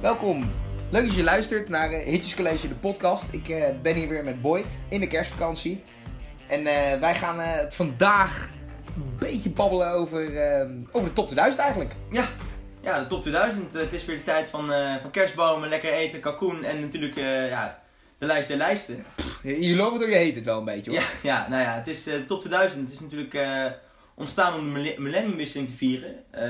Welkom. Leuk dat je luistert naar eh, Hitjes College, de podcast. Ik eh, ben hier weer met Boyd in de kerstvakantie. En eh, wij gaan eh, het vandaag een beetje babbelen over, eh, over de top 2000 eigenlijk. Ja, ja de top 2000. Eh, Het is weer de tijd van, eh, van kerstbomen, lekker eten, kalkoen en natuurlijk eh, ja, de lijst der lijsten. Je loopt het door, je heet het wel een beetje hoor. Ja, ja, nou ja, het is eh, de top 2000. Het is natuurlijk eh, ontstaan om de mille- millenniumwisseling te vieren. eh,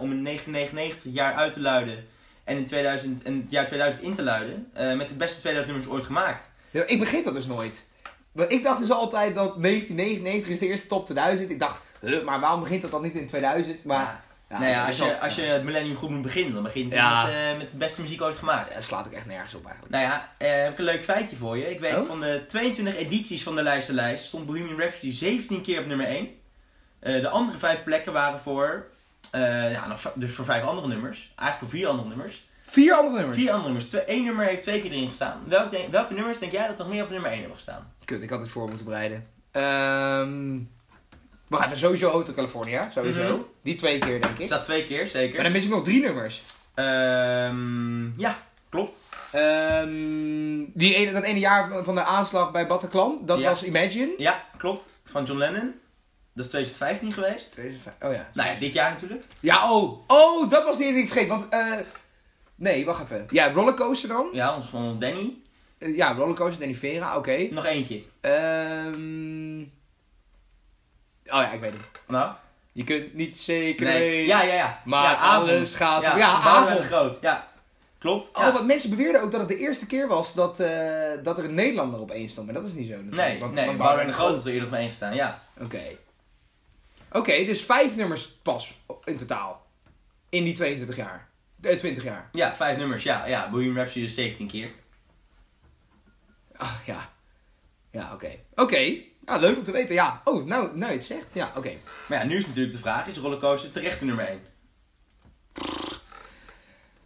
om in 1999 het jaar uit te luiden en in 2000, en het jaar 2000 in te luiden. eh, met de beste 2000 nummers ooit gemaakt. Ja, Ik begreep dat dus nooit. Want ik dacht dus altijd dat 1999 is de eerste top 2000. Ik dacht, huh, maar waarom begint dat dan niet in 2000? Maar ja, nou ja, dat als is je, wel- als je het millennium goed moet beginnen, dan begint het Ja. met, eh, met de beste muziek ooit gemaakt. Ja, dat slaat ook echt nergens op eigenlijk. Nou ja, eh, heb ik een leuk feitje voor je. Ik weet Oh? van de 22 edities van de lijstenlijst stond Bohemian Rhapsody 17 keer op nummer 1. Eh, de andere vijf plekken waren voor, eh, ja, nog v- dus voor vijf andere nummers. Eigenlijk voor vier andere nummers. Vier andere nummers. Vier andere nummers. Twee, één nummer heeft twee keer erin gestaan. Welk denk- welke nummers denk jij dat nog meer op nummer 1 hebben gestaan? Kut, ik had het voor moeten bereiden. Ehm we gaan even sowieso Hotel California, sowieso. Mhm. Die twee keer, denk Het ik. staat twee keer, Maar zeker. dan mis ik nog drie nummers. Ehm, ja, klopt. Ehm, die ene, dat ene jaar van- van de aanslag bij Bataclan, dat Ja. was Imagine. Ja, klopt. Van John Lennon. Dat is 2015 geweest. 2005, Oh ja. Nou ja, dit jaar natuurlijk. Ja, oh. Oh, dat was die ene die ik vergeet. Want, eh... nee, wacht even. Ja, Rollercoaster dan. Ja, ons van Danny. Eh, ja, Rollercoaster, Danny Vera, oké. Ehm Nog eentje. Oh ja, ik weet het. Nou? Je kunt niet zeker Nee. weten. Ja, ja, ja. Maar ja, avond. alles gaat- Ja, ja, Boudewijn avond. de Groot. Ja, klopt. Oh, Ja. want mensen beweerden ook dat het de eerste keer was dat, eh, dat er een Nederlander op één stond. Maar dat is niet zo natuurlijk. Nee, Want- nee, want Boudewijn de Groot is er eerder op één gestaan, ja. Oké. Oké, dus vijf nummers pas in totaal. In die 22 jaar. Eh, 20 jaar. Ja, vijf nummers, ja. ja Bohemian Rhapsody dus 17 keer. Ah, ja. Ja, oké. Oké. Ja, leuk om te weten. Ja. Oh, nou, nou je het zegt. Ja, oké. Maar ja, nu is natuurlijk de vraag, is Rollercoaster terecht de nummer 1?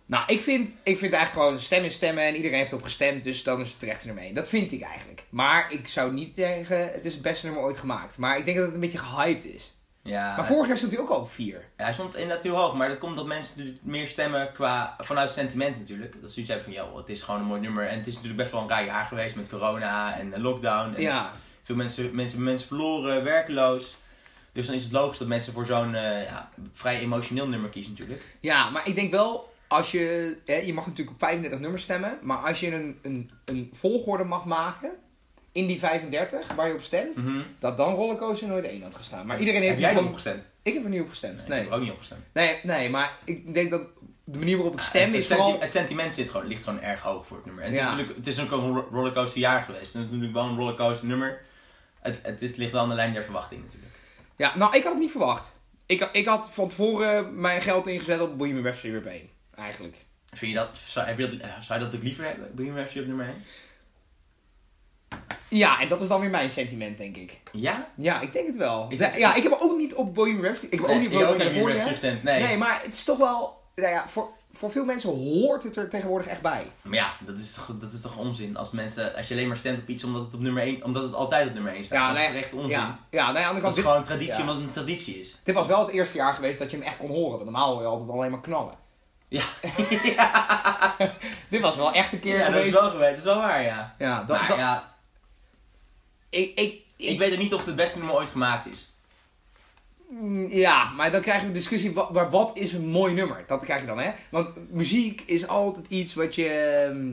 Nou, ik vind, ik vind eigenlijk gewoon stemmen stemmen en iedereen heeft op gestemd, dus dan is het terecht nummer één. Dat vind ik eigenlijk. Maar ik zou niet zeggen, het is het beste nummer ooit gemaakt. Maar ik denk dat het een beetje gehyped is. Ja, Maar vorig jaar stond hij ook al op vier. ja, hij stond inderdaad heel hoog, maar dat komt dat mensen natuurlijk meer stemmen qua, vanuit sentiment natuurlijk. Dat ze iets hebben van, joh, het is gewoon een mooi nummer. En het is natuurlijk best wel een raar jaar geweest met corona en de lockdown. En Ja, Veel mensen, mensen, mensen verloren, werkloos. Dus dan is het logisch dat mensen voor zo'n eh, ja, vrij emotioneel nummer kiezen natuurlijk. ja, maar ik denk wel, als je, hè, je mag natuurlijk op 35 nummers stemmen, maar als je een, een, een volgorde mag maken in die 35 waar je op stemt, Mhm. dat dan Rollercoaster nooit één had gestaan. Maar iedereen heeft Heb jij nu erop gewoon- gestemd? Ik heb er niet op gestemd. Nee. Ik Nee, heb er ook niet op gestemd. nee, nee, maar ik denk dat de manier waarop ik stem het, is senti- vooral... Ah, het sentiment zit gewoon, ligt gewoon erg hoog voor het nummer. En het, Ja. is natuurlijk, het is natuurlijk ook een ro- rollercoaster jaar geweest. En het is natuurlijk wel een rollercoaster nummer. Het, het, is- ligt wel aan de lijn der verwachting natuurlijk. Ja, nou, ik had het niet verwacht. Ik, ik had van tevoren mijn geld ingezet op Bohemian Rhapsody weer op één, Eigenlijk. Vind je dat, zou, heb je dat, eh, zou je dat ook liever hebben? Bohemian Rhapsody op nummer 1? Ja, en dat is dan weer mijn sentiment, denk ik. Ja? Ja, ik denk het wel. Is het- Ja, ik heb ook niet op Bohemian Rhapsody... Ik heb ook Nee, niet ik op heb Road ook to niet op Bohemian California. Rhapsody gestemd. Nee. Nee. maar het is toch wel... Nou ja, voor, voor veel mensen hoort het er tegenwoordig echt bij. Maar ja, dat is, toch, dat is toch onzin. Als, mensen, als je alleen maar stemt op iets omdat het, op nummer 1, omdat het altijd op nummer 1 staat. Ja, dat nee. is toch echt onzin. Ja, ja nou ja, aan de andere Dat kant... is Dit, gewoon een traditie ja. omdat het een traditie is. dit was wel het eerste jaar geweest dat je hem echt kon horen. Want normaal hoor je altijd alleen maar knallen. Ja, Dit was wel echt een keer ja dat is geweest. wel geweest. Dat is wel waar, ja. Ja, dat... maar dat- ja, Ik, ik, ik- ik weet ook niet of het het beste nummer ooit gemaakt is. Mm, Ja, maar dan krijgen we een discussie, wa- maar wat is een mooi nummer? Dat krijg je dan, hè? Want muziek is altijd iets wat je, ehm,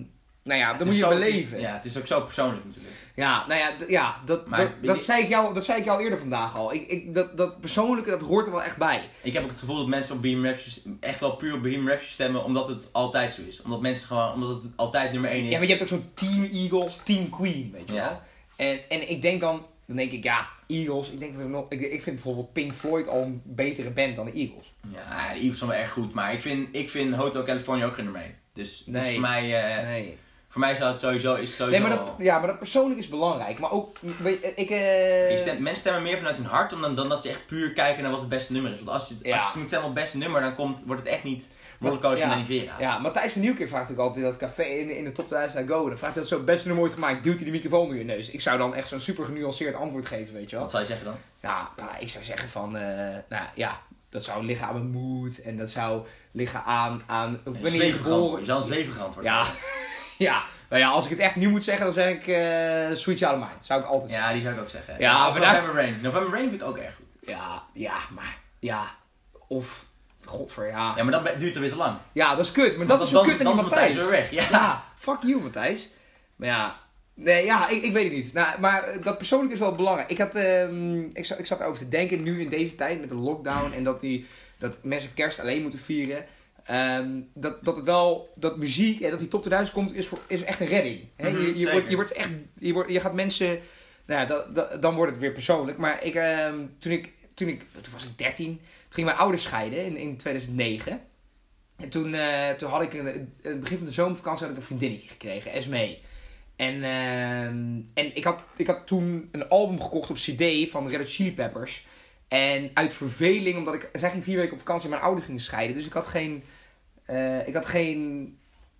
nou ja, dat moet Het je is zo- het is- beleven. Ja. ja, het is ook zo persoonlijk natuurlijk. nou ja, d- ja dat, Maar dat, ik- dat, zei ik jou, dat zei ik jou eerder vandaag al. Ik, ik, dat, dat persoonlijke, dat hoort er wel echt bij. Ik heb ook het gevoel dat mensen op Beam Raps echt wel puur op Beam Raps stemmen omdat het altijd zo is. Omdat mensen gewoon, omdat het altijd nummer 1 is. Ja, maar je hebt ook zo'n Team Eagles, Team Queen, weet je Ja. wel. En, en ik denk dan, dan denk ik, ja, Eagles, ik, denk dat er nog, ik, ik vind bijvoorbeeld Pink Floyd al een betere band dan de Eagles. Ja, de Eagles zijn wel erg goed, maar ik vind, ik vind Hotel California ook geen nummer 1. Dus het is Nee. voor mij, eh, Nee. voor mij zou het sowieso, is het Nee, sowieso maar dat, al- ja, maar dat persoonlijk is belangrijk. Maar ook, weet je, ik... eh, Je stemt- mensen stemmen meer vanuit hun hart dan, dan dat ze echt puur kijken naar wat het beste nummer is. Want als je, Ja. als je moet stemmen op het beste nummer, dan komt, wordt het echt niet rollercoaster Ja. naar Vera. Ja, Matthijs van Nieuwkerk vraagt ook altijd in dat café in, in de top 1000 naar Go. En dan vraagt hij dat zo best nummer ooit gemaakt. Duwt hij de microfoon door je neus? Ik zou dan echt zo'n super genuanceerd antwoord geven, weet je wel. Wat zou je zeggen dan? Nou, nou, ik zou zeggen van, eh, nou ja, Dat zou liggen aan mijn moed en dat zou liggen aan, aan Een wanneer je Zwevig antwoord. Je geboren zal een zwevig antwoord Ja, hebben. ja. Nou ja, als ik het echt nu moet zeggen, dan zeg ik eh Sweet Child of Mine. Zou ik altijd zeggen. ja, die zou ik ook zeggen. Ja, of maar daar- November Rain. November Rain vind ik ook erg goed. Ja, ja, maar ja. Of, godver, ja. Ja, maar dan be- duurt het weer te lang. Ja, dat is kut. Maar Want dat is dan- zo kut aan dan die is Matthijs Matthijs. weer weg. Ja. Ja, fuck you Matthijs. Maar ja, nee, ja ik, ik weet het niet. Nou, maar eh, dat persoonlijk is wel belangrijk. Ik, had, ehm, ik, zat, ik zat erover te denken nu in deze tijd met de lockdown en dat, die, dat mensen kerst alleen moeten vieren. Ehm, dat, dat het wel, dat muziek en dat die top 2000 komt, is, voor, is echt een redding. Hè? Mhm, je, je, zeker. wordt, je wordt echt, je, wordt, je gaat mensen, nou ja, dat, dat- dan wordt het weer persoonlijk. Maar ik, ehm, toen ik, toen ik, toen was ik 13, toen gingen mijn ouders scheiden in, in 2009. En toen, eh, toen had ik, een, in het begin van de zomervakantie, had ik een vriendinnetje gekregen, Esmee. En, ehm, en ik, had, ik had toen een album gekocht op CD van Red Hot Chili Peppers. En uit verveling, omdat ik, zij ging vier weken op vakantie en mijn ouders gingen scheiden. Dus ik had geen, eh, ik had geen,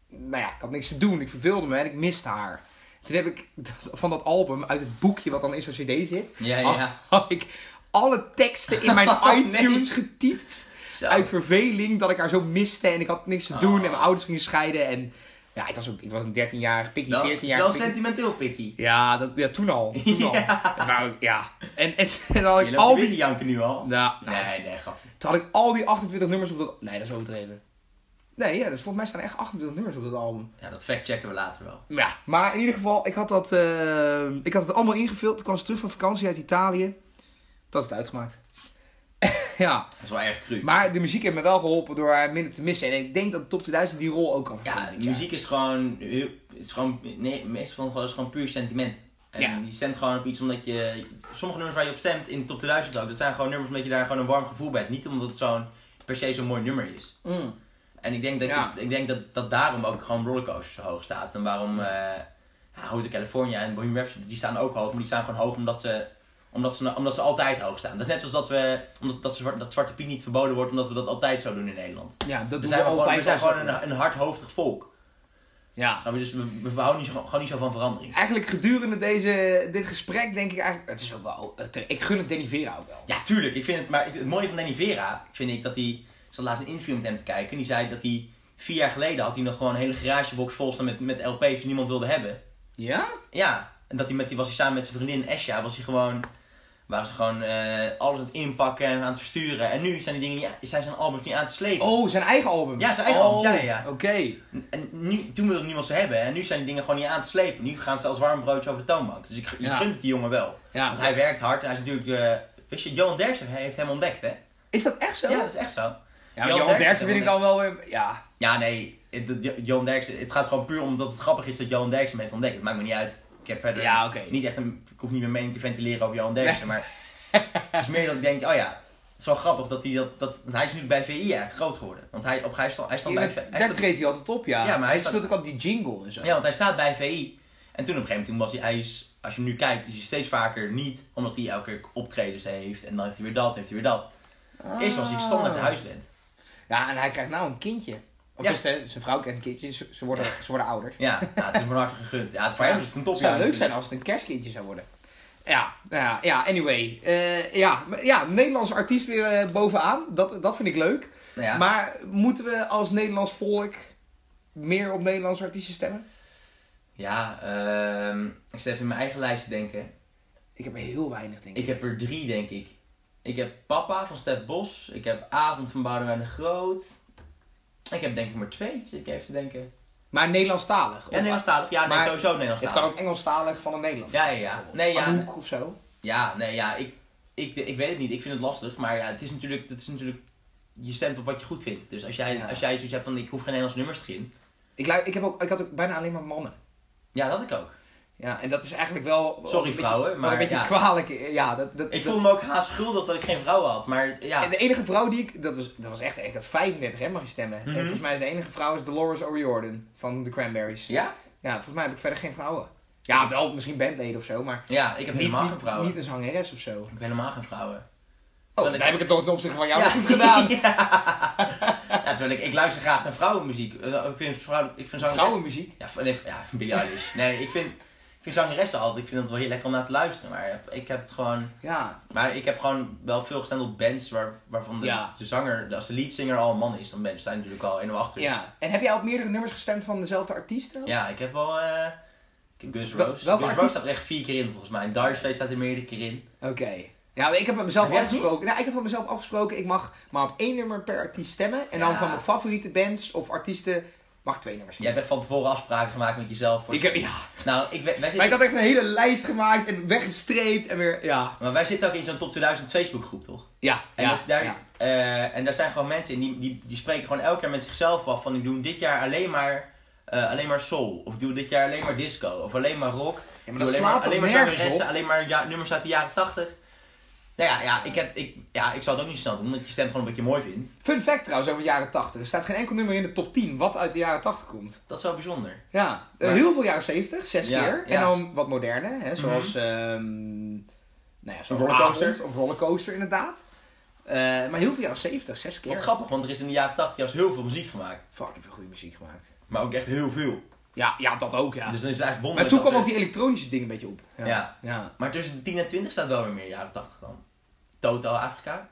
nou ja, ik had niks te doen. Ik verveelde me en ik miste haar. Toen heb ik dat- van dat album, uit het boekje wat dan in zo'n CD zit, Ja, had- ja. had ik alle teksten in mijn Oh, nee. iTunes getypt Zo. uit verveling dat ik haar zo miste en ik had niks te doen Oh. en mijn ouders gingen scheiden en ja, ik was ook ik was een 13-jarige pikkie, Dat is- is 14 wel jarige pikkie. sentimenteel, Pikkie. Ja, dat, ja, toen al. Toen al. Dat wou ik- ja. En, en, en dan had ik Je loopt al al die... die janken nu al. Nou, nou, Nee, nee, grapje. toen had ik al die 28 nummers op dat... Nee, dat is overdreven. Nee, ja, dus volgens mij staan er echt 28 nummers op dat album. Ja, dat factchecken we later wel. Ja, maar in ieder geval, ik had, dat, eh, ik had het allemaal ingevuld. Toen kwam ze terug van vakantie uit Italië. Dat is het uitgemaakt. ja, Dat is wel erg cru. maar de muziek heeft me wel geholpen door haar minder te missen. En ik denk dat de top 2000 die rol ook kan Ja, vervullen. dit jaar. muziek is gewoon, heel- is gewoon nee, meestal van de gevallen is gewoon puur sentiment. En Ja. je stemt gewoon op iets omdat je, sommige nummers waar je op stemt in de top 2000 ook, dat zijn gewoon nummers omdat je daar gewoon een warm gevoel bij hebt. Niet omdat het zo'n, per se zo'n mooi nummer is. Mm. En ik denk dat, Ja. ik, ik denk dat, dat daarom ook gewoon Rollercoaster zo hoog staat. En waarom eh ja, Hotel California en Bohemian Rhapsody, die staan ook hoog. Maar die staan gewoon hoog omdat ze, omdat ze, omdat ze altijd hoog staan. Dat is net zoals dat, we, omdat, dat, zwart, dat Zwarte Piet niet verboden wordt omdat we dat altijd zo doen in Nederland. Ja, dat We doen zijn, we gewoon, we altijd. zijn wel gewoon zo. een, een hardhoofdig volk. Ja. Snap je? Dus we, we houden niet, zo- gewoon niet zo van verandering. Eigenlijk gedurende deze, dit gesprek denk ik eigenlijk... Het is ook wel... eh, ter- Ik gun het Danny Vera ook wel. Ja, tuurlijk. Ik vind het, maar het mooie van Danny Vera vind ik dat hij... Ik zat laatst een interview met hem te kijken. En die zei dat hij vier jaar geleden had hij nog gewoon een hele garagebox vol staan met, met LP's die niemand wilde hebben. Ja? Ja, en dat hij met die was hij samen met zijn vriendin Esja, was hij gewoon, waren ze gewoon eh, alles aan het inpakken en aan het versturen. En nu zijn die dingen niet, zijn zijn albums niet aan te slepen. Oh, zijn eigen album. Ja, zijn eigen oh, album, ja, ja, ja. Oké. En nu, toen wilde niemand ze hebben en nu zijn die dingen gewoon niet aan te slepen. Nu gaan ze als warm broodje over de toonbank. Dus ik, ik Ja. vind het die jongen wel. Ja. Want hij werkt hard en hij is natuurlijk, eh, wist je, Johan Derksen heeft hem ontdekt hè? Is dat echt zo? Ja, dat is echt zo. Ja, maar Johan Derksen vind ik dan wel weer... Ja. Ja, nee, het, het- Jo- Johan Derksen, het gaat gewoon puur omdat het grappig is dat Johan Derksen hem heeft ontdekt. Het maakt me niet uit. Ik heb verder Ja, oké. niet echt een, ik hoef niet mijn mening te ventileren over Johan Derksen, maar het is meer dat ik denk, oh ja, het is wel grappig dat hij dat, dat hij is nu bij VI eigenlijk groot geworden. Want hij, op, hij, stond, hij stond bij Daar hij stond- treedt hij altijd op, ja. Ja, maar hij hij staat- speelt ook altijd die jingle en zo. ja, want hij staat bij VI. En toen op een gegeven moment was hij, hij is, als je hem nu kijkt, is hij steeds vaker niet, omdat hij elke keer optredens heeft en dan heeft hij weer dat, heeft hij weer dat. Eerst was hij standaard de huisband. Ah. Ja, en hij krijgt nou een kindje. Of Ja. dus, eh, zijn vrouw krijgt een kindje. Ze, ze worden, ze worden ouder. Ja, nou, het is hem van harte gegund. Ja, voor Ja, hem is het een Het topjaar. zou leuk natuurlijk. zijn als het een kerstkindje zou worden. Ja, nou ja, ja anyway. Eh, ja, maar ja, Nederlandse artiest weer eh, bovenaan. Dat, dat vind ik leuk. Nou ja. Maar moeten we als Nederlands volk meer op Nederlandse artiesten stemmen? Ja, ehm, ik zit even in mijn eigen lijst te denken. Ik heb er heel weinig, denk ik. Ik heb er drie, denk ik. Ik heb Papa van Stef Bos. Ik heb Avond van Boudewijn de Groot. Ik heb denk ik maar twee, zit ik even te denken. Maar Nederlandstalig? Ja, Of- Nederlandstalig. Ja, nee, maar sowieso Nederlandstalig. Het kan ook Engelstalig van een Nederland. Ja, ja, ja. Nee, ja. Anouk of zo. Ja, nee, ja. Ik, ik, ik weet het niet. Ik vind het lastig. Maar ja, het is natuurlijk... Het is natuurlijk je stemt op wat je goed vindt. Dus als jij, Ja. als jij zoiets hebt van ik hoef geen Nederlands nummers te in. Ik, lu- ik, heb ook, ik had ook bijna alleen maar mannen. Ja, dat ik ook. Ja, en dat is eigenlijk wel... Sorry, een beetje- vrouwen, wat maar een beetje ja. kwalijk. Ja, dat, dat, Ik dat- voel me ook haast schuldig dat ik geen vrouwen had. Maar ja, En de enige vrouw die ik. Dat was, dat was echt. Ik had 35 hè, mag je stemmen. Mhm. En volgens mij is de enige vrouw is Dolores O'Riordan van de Cranberries. Ja. ja? volgens mij heb ik verder geen vrouwen. Ja, wel misschien bandleden of zo, maar. Ja, ik heb niet, helemaal niet- geen vrouwen. Niet een zangeres of zo. Ik heb helemaal geen vrouwen. Oh, Terwijl dan heb ik- ik het toch ten opzichte van jou Ja. nog goed gedaan. Ja, terwijl ik, ik luister graag naar vrouwenmuziek. Eh, Ik vind, eh, vrouw, ik vind zo'n Vrouwenmuziek. Ja, v- nee, v- ja, Billie Eilish. Nee, ik vind, ik vind zangeressen altijd, ik vind dat wel heel lekker om naar te luisteren. Maar ik heb het gewoon, Ja, maar ik heb gewoon wel veel gestaan op bands waar, waarvan de, Ja. de zanger, als de leadzanger al een man is, dan ben je sta je natuurlijk al 1-0 achter. ja. En heb jij op meerdere nummers gestemd van dezelfde artiesten? Ja, ik heb wel, eh ik heb Guns Wel- Rose. welke Guns Rose artiest- staat er echt vier keer in volgens mij. En Dire Straits staat er meerdere keer in. Oké. Ja, maar ik heb met mezelf Heb jij dat afgesproken. Nou, ik heb van mezelf afgesproken, ik mag maar op één nummer per artiest stemmen. En dan Ja. van mijn favoriete bands of artiesten mag ik twee nummers Jij hebt echt van tevoren afspraken gemaakt met jezelf. Voor ik heb, ja. Nou, ik, wij, wij Maar ik zitten, had echt een hele lijst gemaakt en weggestreept en weer. Ja. maar wij zitten ook in zo'n top 2000 Facebook groep, toch? Ja. En, ja, dat- daar, ja. eh, en daar zijn gewoon mensen in die, die, die spreken gewoon elke keer met zichzelf af van ik doe dit jaar alleen maar, eh, alleen maar soul. Of ik doe dit jaar alleen maar disco. Of alleen maar rock. Ja, Ik maar doe dat alleen slaat maar, alleen toch maar nergens op? zangeressen, alleen maar ja, nummers uit de jaren 80. Nou ja, ja, ik, heb, ik, ja, ik zou het ook niet snel doen, want je stemt gewoon wat je mooi vindt. Fun fact trouwens over de jaren 80. Er staat geen enkel nummer in de top 10 wat uit de jaren 80 komt. Dat is wel bijzonder. Ja, eh, Maar- heel veel jaren 70, zes Ja, keer. ja. Mhm. En dan wat moderne, hè, zoals. ehm, nou ja, zo'n Rollercoaster. rollercoaster. of rollercoaster inderdaad. Eh, maar heel veel jaren 70, zes Wat keer. grappig, want er is in de jaren 80 juist heel veel muziek gemaakt. Fucking veel goede muziek gemaakt. Maar ook echt heel veel. Ja, ja dat ook, ja. Dus dan is het eigenlijk maar wonderlijk. toen kwam dat ook er- die elektronische ding een beetje op. Ja. Ja, Ja. Maar tussen de 10 en 20 staat wel weer meer jaren 80 dan. Totaal Afrika.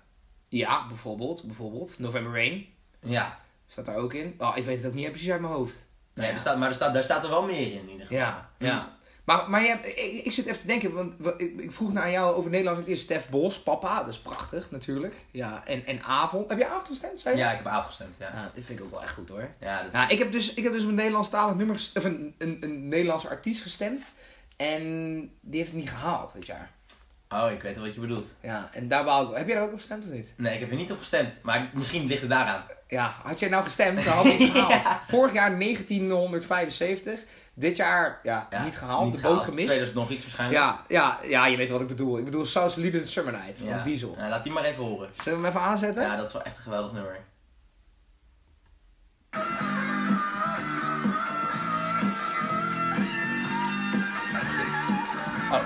Ja, bijvoorbeeld, bijvoorbeeld. November Rain Ja. staat daar ook in. Oh, ik weet het ook niet precies uit mijn hoofd. Nee, Ja. Er staat, maar er staat, daar staat er wel meer in in ieder geval. Ja, Hm. ja. Maar, maar je hebt- ik, ik zit even te denken, want we- ik, ik vroeg naar jou over Nederlands. Het is Stef Bos, papa, dat is prachtig natuurlijk. Ja, en, en avond. Heb je avond gestemd? Zei je? Ja, ik heb afgestemd, ja. Ja, dat vind ik ook wel echt goed hoor. Ja, dat is... Nou, ik heb dus, ik heb dus een Nederlandstalig nummer, gest- of een, een, een Nederlandse artiest gestemd. En die heeft het niet gehaald dit jaar. Oh, ik weet wel wat je bedoelt. Ja, en daar baal ik wel. Heb jij daar ook op gestemd of niet? Nee, ik heb er niet op gestemd. Maar misschien ligt het daaraan. Ja, had jij nou gestemd, dan had ik het gehaald. Vorig jaar 1975. Dit jaar, ja, Ja, niet gehaald. de boot gemist. 2000 nog iets waarschijnlijk. Ja, ja, ja, je weet wat ik bedoel. Ik bedoel South Lieben Summer Night van Ja. Diesel. Nou, laat die maar even horen. Zullen we hem even aanzetten? Ja, dat is wel echt een geweldig nummer. Oh,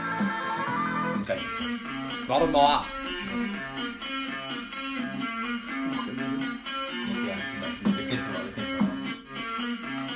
Dat kan je. we hadden hem al aan. Ja, ja, ik knip hem wel, ik knip hem wel.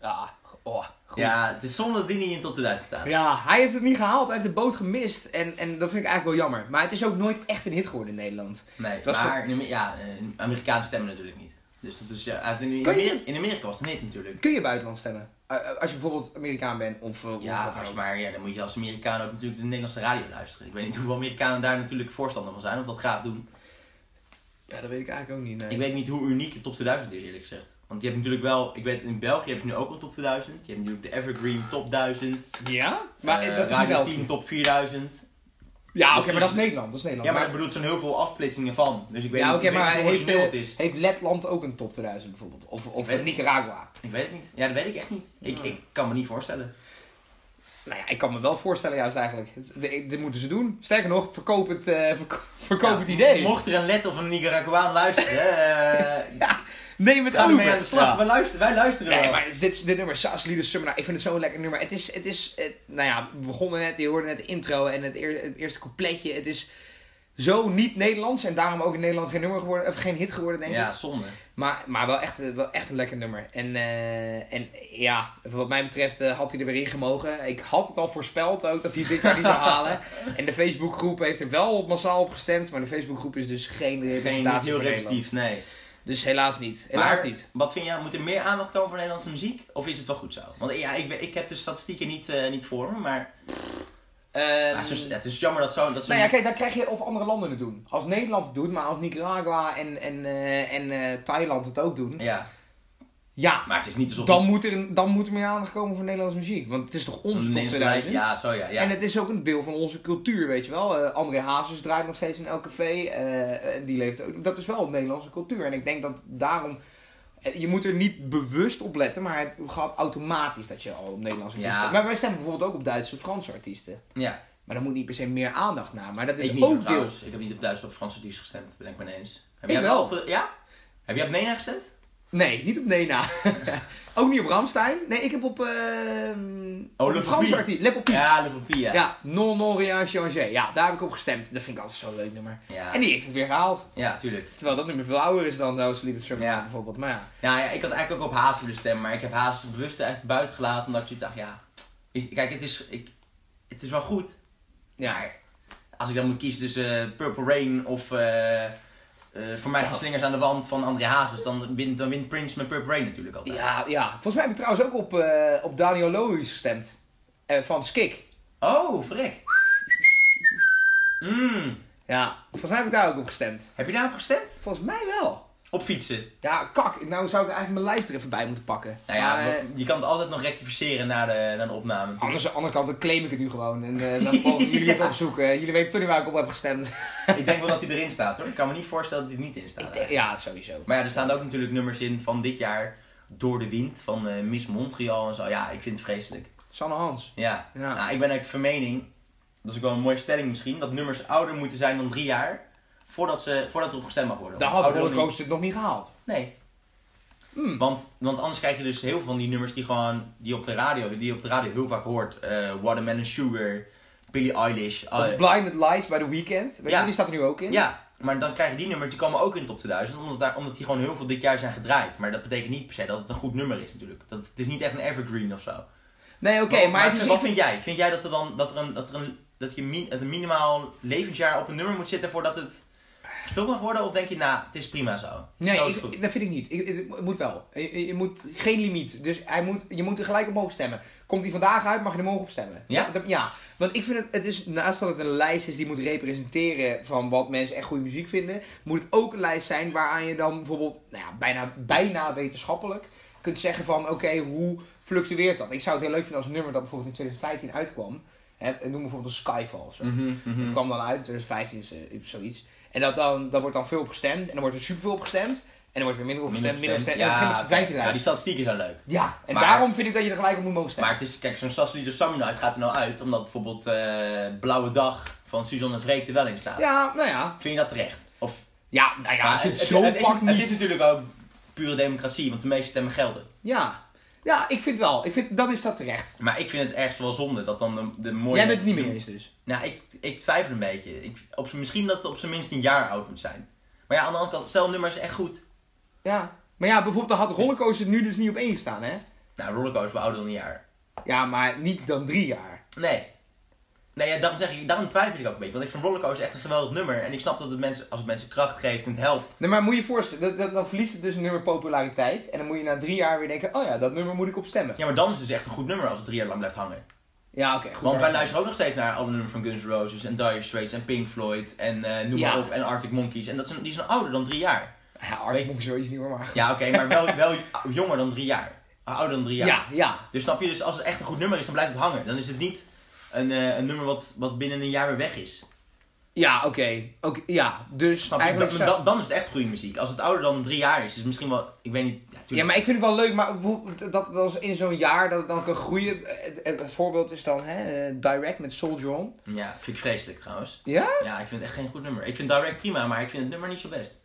Ja, oh, goed. Ja. Ja, het is zonde dat die niet in de top 2000 staat. hij heeft het niet gehaald. Hij heeft de boot gemist. En, en dat vind ik eigenlijk wel jammer. Maar het is ook nooit echt een hit geworden in Nederland. Nee, was maar in Amer- ja, eh, Amerikanen stemmen natuurlijk niet. Dus dat is ja, uit- in, in, Kun je- Amer- in Amerika was het niet natuurlijk. Kun je buitenland stemmen? Eh, eh, als je bijvoorbeeld Amerikaan bent of, eh, of Ja, wat dan als je ook. maar ja, dan moet je als Amerikaan ook natuurlijk de Nederlandse radio luisteren. Ik weet niet hoeveel Amerikanen daar natuurlijk voorstander van zijn of dat graag doen. Ja, dat weet ik eigenlijk ook niet. nee. Ik weet niet hoe uniek de top 2000 is eerlijk gezegd. Want je hebt natuurlijk wel, ik weet in België hebben ze nu ook een top 2000. Je hebt natuurlijk de Evergreen top 1000. Ja? Maar eh, eh, dat is Radio wel... 10 top 4000. Ja, oké, maar dat is Nederland. Dat is Nederland. Ja, maar dat bedoelt zo'n heel veel afsplitsingen van. Dus ik weet ja, niet, oké, ik weet maar niet hoe heeft, origineel het eh, is. heeft Letland ook een top 2000 bijvoorbeeld? Of, of weet het Nicaragua? Ik weet het niet. Ja, dat weet ik echt niet. Ik, Ja. ik kan me niet voorstellen. Nou ja, ik kan me wel voorstellen juist eigenlijk. Het- Dit dit moeten ze doen. Sterker nog, verkoop het, eh, verko- verkoop Ja, het idee. Mocht er een Let of een Nicaraguaan luisteren, eh, Neem het ga over. ermee aan de slag. Ja. Wij luisteren, wij luisteren Nee, wel. maar dit, is- dit nummer, Saas Lieder Summer, nou, ik vind het zo'n lekker nummer. Het is, het is eh, nou ja, we begonnen net, je hoorde net de intro en het, eer- het eerste coupletje. Het is zo niet Nederlands en daarom ook in Nederland geen nummer geworden, of geen hit geworden, denk ik. Ja, zonde. Maar, maar wel, echt, wel echt een lekker nummer. En, eh, en ja, wat mij betreft eh, had hij er weer in gemogen. Ik had het al voorspeld ook dat hij dit jaar niet zou halen. En de Facebookgroep heeft er wel op massaal op gestemd. Maar de Facebookgroep is dus geen Geen, niet representatie heel van Nederland. representatief, nee. Dus helaas niet. Helaas Maar niet. Wat vind jij, moet er meer aandacht komen voor Nederlandse muziek? Of is het wel goed zo? Want eh, ja, ik, weet- ik heb de statistieken niet, eh, niet voor me, maar... Ehm, Ja, het, is, het is jammer dat zo. Dat zo nou ja, kijk, daar krijg je of andere landen het doen. Als Nederland het doet, maar als Nicaragua en, en, eh, en eh, Thailand het ook doen. Ja, Ja, maar het is niet alsof. dan moet, er, een- dan moet er meer aandacht komen voor Nederlandse muziek. Want het is toch ons top Nederlandse 2000? Ja, zo ja. ja. En het is ook een deel van onze cultuur, weet je wel. Eh, André Hazes draait nog steeds in elk café. eh, en die leeft ook. Dat is wel Nederlandse cultuur. En ik denk dat daarom. eh, Je moet er niet bewust op letten, maar het gaat automatisch dat je al op Nederlandse Ja. artiesten. Maar wij stemmen bijvoorbeeld ook op Duitse en Franse artiesten. ja. Maar daar moet niet per se meer aandacht naar. Maar dat is ik niet, ook deel. trouwens. Ik heb niet op Duits of Franse dienst gestemd, ben ik maar eens. Heb Ik jij wel. op- ja? Heb jij op Nena gestemd? Nee, niet op Nena. ook niet op Ramstein. Nee, ik heb op. eh, Oh, Le Franse Papier. artiesten. Le Papier. Ja, Le Papier. Ja. Ja, Non Non Rien Changer. Ja, daar heb ik op gestemd. Dat vind ik altijd zo'n leuk nummer. Ja. En die heeft het weer gehaald. ja, tuurlijk. Terwijl dat nummer veel ouder is dan Those Little Summer Ja. bijvoorbeeld. Maar ja. Nou ja, ik had eigenlijk ook op Haas willen stemmen, maar ik heb Haas bewust echt buiten gelaten omdat ik dacht, ja, is, kijk, het is, ik, het is wel goed. ja. Maar als ik dan moet kiezen tussen eh, Purple Rain of eh, eh, voor mij geen slingers aan de wand van André Hazes, dan wint, dan wint Prince met Purple Rain natuurlijk altijd. Ja, ja. Volgens mij heb ik trouwens ook op, eh, op Daniel Lohuis gestemd. Eh, van Skik. Oh, verrek. Mm, Ja, volgens mij heb ik daar ook op gestemd. heb je daarop gestemd? Volgens mij wel. Op fietsen. Ja, kak. Nou zou ik eigenlijk mijn lijst er even bij moeten pakken. Nou ja, Maar, eh, want je kan het altijd nog rectificeren na de, na de opname. natuurlijk. Anders, aan de andere kant dan claim ik het nu gewoon. En eh, dan mogen jullie het Ja. opzoeken. Jullie weten toch niet waar ik op heb gestemd. ik denk wel dat hij erin staat hoor. Ik kan me niet voorstellen dat hij er niet in staat. Oh. Ik denk- ja, sowieso. Maar ja, er staan ook natuurlijk nummers in van dit jaar. Door de wind van eh, Miss Montreal en zo. Ja, ik vind het vreselijk. Sanne Hans. Ja. Ja. Nou, ik ben eigenlijk van mening, dat is ook wel een mooie stelling misschien, dat nummers ouder moeten zijn dan drie jaar. Voordat, ze, voordat er op gestemd mag worden. Daar Of had ouder dan Rollercoaster het nog niet gehaald. die- Nee. Hmm. Want, want anders krijg je dus heel veel van die nummers die gewoon die op de radio, die je op de radio heel vaak hoort. Eh, Watermelon Sugar, Billie Eilish. alle- Of Blinded Lights bij The Weeknd. Weet Oh, Ja. je, die staat er nu ook in. Ja, maar dan krijgen die nummers, die komen ook in de top 2000, omdat, daar, omdat die gewoon heel veel dit jaar zijn gedraaid. Maar dat betekent niet per se dat het een goed nummer is natuurlijk. Dat, het is niet echt een evergreen of zo. Oké, Nee, oké. maar, het is Oh, wat iets- vind jij? Vind jij dat, er dan, dat, er een, dat, er een, dat je min, het een minimaal levensjaar op een nummer moet zitten voordat het gespeeld mag worden? Of denk je, nou, het is prima zo? Nee, zo is ik- het goed. dat vind ik niet. Ik, het moet wel. Je, je- je moet geen limiet. Dus hij moet, je moet er gelijk op mogen stemmen. Komt hij vandaag uit, mag je er morgen op stemmen. Ja? Dat- ja. Want ik vind het, het is, naast dat het een lijst is die moet representeren van wat mensen echt goede muziek vinden, moet het ook een lijst zijn waaraan je dan bijvoorbeeld, nou ja, bijna, bijna wetenschappelijk kunt zeggen van, oké, hoe fluctueert dat? Ik zou het heel leuk vinden als een nummer dat bijvoorbeeld in 2015 uitkwam, hè, noem bijvoorbeeld een Skyfall of zo. Mhm, mhm. Het kwam dan uit, 2015 is, eh, of zoiets. En dat dan, dan wordt dan veel op gestemd. En dan wordt er superveel op gestemd. En dan wordt er minder op gestemd, minder op gestemd. en op een Ja, gegeven moment verdwijnt hij ja, die eruit. statistieken zijn leuk. Ja, en Maar- daarom vind ik dat je er gelijk op moet mogen stemmen. Maar het is, kijk, zo'n Sassoli de Sammonite gaat er nou uit, omdat bijvoorbeeld eh, Blauwe Dag van Suzanne en Vreek er wel in staat. Ja, nou ja. Vind je dat terecht? Of Ja, nou ja, Maar als je het, het- zo het- het- pakt het niet. is natuurlijk ook pure democratie, want de meeste stemmen gelden. Ja. ja, ik vind wel. Ik vind, dan is dat terecht. Maar ik vind het ergens wel zonde dat dan de, de mooie... Jij bent het niet meer eens dus. Nou, ik, ik twijfel een beetje. Ik, op z'n- misschien dat het op zijn minst een jaar oud moet zijn. Maar ja, aan de andere kant, stel nummer is echt goed. Ja. Maar ja, bijvoorbeeld dan had Rollercoaster nu dus niet op één gestaan, hè? Nou, Rollercoaster is wel ouder dan een jaar. Ja, maar niet dan drie jaar. Nee. Nee, ja, daarom, zeg ik, daarom twijfel ik ook een beetje. Want ik vind Rollercoaster echt een geweldig nummer. En ik snap dat het mensen, als het mensen kracht geeft en het helpt. Nee, maar moet je je voorstellen, dat- dat- dan verliest het dus een nummer populariteit. En dan moet je na drie jaar weer denken, oh ja, dat nummer moet ik op stemmen. Ja, maar dan is het dus echt een goed nummer als het drie jaar lang blijft hangen. Ja, oké, goed. Want wij argument. luisteren ook nog steeds naar alle nummers van Guns N' Roses en Dire Straits en Pink Floyd en eh, noem Ja. maar op en Arctic Monkeys. En dat zijn, die zijn ouder dan drie jaar. Ja, Arctic Monkeys sowieso niet hoor, maar... Ja, oké, maar wel, wel jonger dan drie jaar. Ouder dan drie Ja, jaar. ja. Dus snap je, dus als het echt een goed nummer is, dan blijft het hangen. Dan is het niet een, eh, een nummer wat, wat binnen een jaar weer weg is. Ja, oké. Oké, ja, dus Snap je? eigenlijk... Dan- zou- dan, dan is het echt goede muziek. Als het ouder dan drie jaar is, is misschien wel, ik weet niet. Ja, Ja, tuurlijk. maar ik vind het wel leuk, maar bijvoorbeeld dat, dat is in zo'n jaar dat het dan kan groeien... Het, het- het voorbeeld is dan hè, eh, Direct met Soldier On. ja, vind ik vreselijk trouwens. Ja? Ja, ik vind het echt geen goed nummer. Ik vind Direct prima, maar ik vind het nummer niet zo best.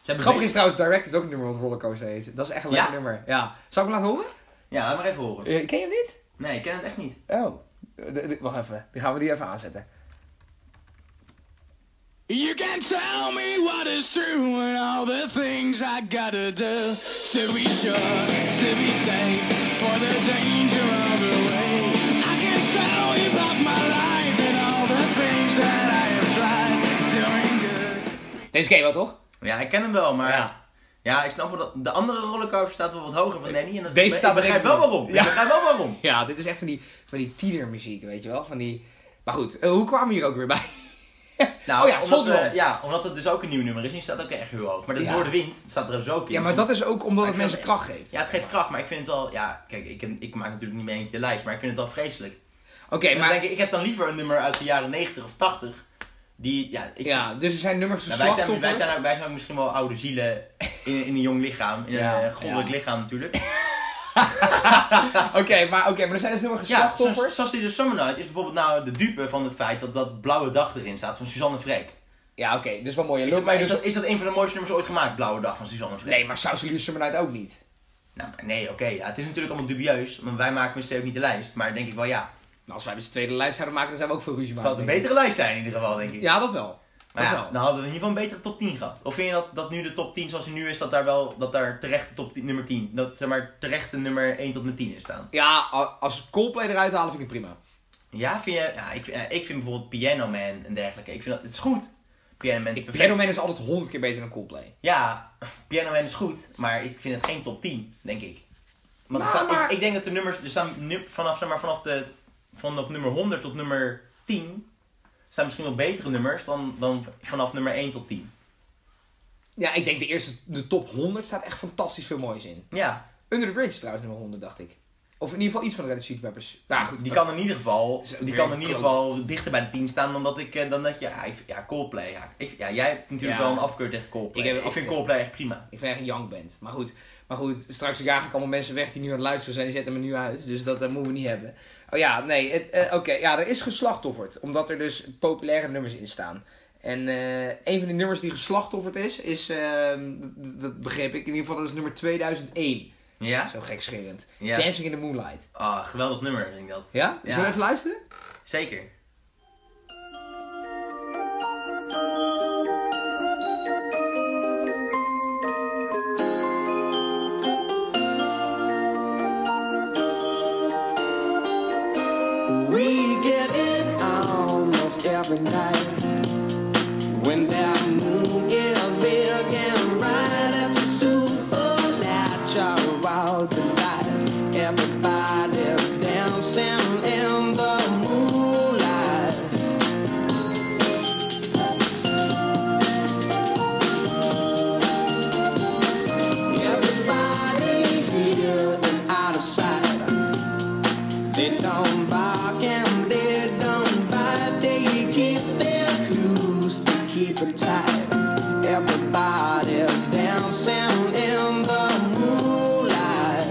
Ze hebben Grappig is trouwens, Direct is ook een nummer wat Rollercoaster heet. Dat is echt een leuk Ja? nummer. Ja. Zal ik hem laten horen? Ja, laat maar even horen. Eh, ken je hem niet? Nee, ik ken het echt niet. Oh. De- de- wacht even. Die gaan we die even aanzetten. You can tell me what is true and all the things I gotta do to be sure, to be safe for the danger of the way. I can tell you about my life and all the things that I have tried doing good. Deze ken je wel, toch? Ja, ik ken hem wel, maar... Ja. Ja. ik snap wel dat de andere rollercoaster staat wel wat hoger van Danny. En dat Deze ik staat begrijp er wel even- waarom. Ja. Ik begrijp wel waarom. Ja, dit is echt van die, van die tienermuziek, weet je wel? Van die... Maar goed, eh, hoe kwamen we hier ook weer bij? Nou, oh ja, omdat, Zolderman. eh, ja, omdat het dus ook een nieuw nummer is. Die staat ook echt heel hoog. Maar dat Ja. Door de Wind staat er dus ook in. Ja, maar dat is ook omdat Maar het ik mensen vind- kracht geeft. Ja, het geeft kracht, maar ik vind het wel... Ja, kijk, ik, ik maak natuurlijk niet mee eentje de lijst, maar ik vind het wel vreselijk. Oké, En dan maar... denk ik, ik heb dan liever een nummer uit de jaren 90 of 80. Die, ja, ik, Ja, dus er zijn nummers Nou, wij, geslachtofferd. zijn, wij, zijn ook, wij zijn ook misschien wel oude zielen in, in een jong lichaam. In Ja, een eh, goddelijk ja. lichaam natuurlijk. Oké, maar, oké, maar er zijn dus nummers Ja, zo- geslachtofferd. zoals die de Summer Night is bijvoorbeeld nou de dupe van het feit dat dat Blauwe Dag erin staat van Suzanne Vrek. Ja, oké, dus wel mooi. Is, Loop dat, mij is, dus... dat, is dat een van de mooiste nummers ooit gemaakt, Blauwe Dag van Suzanne Vrek? Nee, maar Sauce Summer Night ook niet. Nou, maar nee, oké. ja, het is natuurlijk allemaal dubieus, want wij maken met z'n ook niet de lijst. Maar denk ik wel, ja, Nou, als wij dus de tweede lijst zouden maken, dan zijn we ook veel ruzie het maken. zal het een betere lijst zijn in ieder geval, denk ik. Ja, dat wel. maar dat ja, wel. dan hadden we in ieder geval een betere top 10 gehad. Of vind je dat, dat nu de top 10 zoals die nu is, dat daar wel, dat daar terecht de top 10, nummer 10, dat zeg maar terecht de nummer 1 tot en met 10 in staan? Ja, a- als Coldplay eruit halen vind ik het prima. Ja, vind je, ja ik, eh, ik vind bijvoorbeeld Piano Man en dergelijke. Ik vind dat, het is goed. Piano Man is perfect. Piano Man is altijd honderd keer beter dan Coldplay. Ja, Piano Man is goed, maar ik vind het geen top 10, denk ik. Want Nou, er staan- ik- maar- ik, denk dat de nummers, er staan nu, vanaf, zeg maar, vanaf, de, vanaf nummer 100 tot nummer 10, staan misschien wel betere nummers dan, dan vanaf nummer 1 tot 10. Ja, ik denk de eerste, de top 100 staat echt fantastisch veel moois in. Ja, Under the Bridge is trouwens nummer 100, dacht ik. Of in ieder geval iets van de Red Hot Chili Peppers. Nou goed, die kan in ieder geval, Is ook die weer kan in een ieder klote. geval dichter bij de 10 staan dan dat ik, eh, dan dat je, ja, ik- ja Coldplay, ja. Ik, ja, jij hebt natuurlijk Ja. wel een afkeur tegen Coldplay. Ik Ik, heb een vind afkeur. Coldplay echt prima. Ik vind echt een young band. Maar goed, maar goed straks jaag ik allemaal mensen weg die nu aan het luisteren zijn. Die zetten me nu uit. Dus dat eh, moeten we niet hebben. Oh ja, nee. het, eh, Oké, ja, er is geslachtofferd. Omdat er dus populaire nummers in staan. En eh, een van de nummers die geslachtofferd is, is, ehm, dat- dat, dat begreep ik in ieder geval, dat is nummer 2001. Ja? Zo gekscherend. Ja. Dancing in the Moonlight. Ah, geweldig nummer, vind ik dat. Ja? Zullen Ja. we even luisteren? Zeker. We get it almost every night. When that moon is big and bright, it's a supernatural delight. Everybody's dancing in the moonlight. Everybody here is out of sight. They don't bark and they don't bite. They keep their loose, they keep it tight. Everybody's dancing in the moonlight.